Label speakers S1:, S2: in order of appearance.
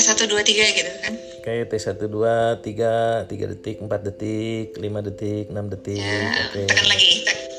S1: satu dua tiga gitu kan
S2: Oke, T1, 2, 3, 3 detik, 4 detik, 5 detik, 6 detik.
S1: ya
S2: Oke.
S1: tekan lagi Tek.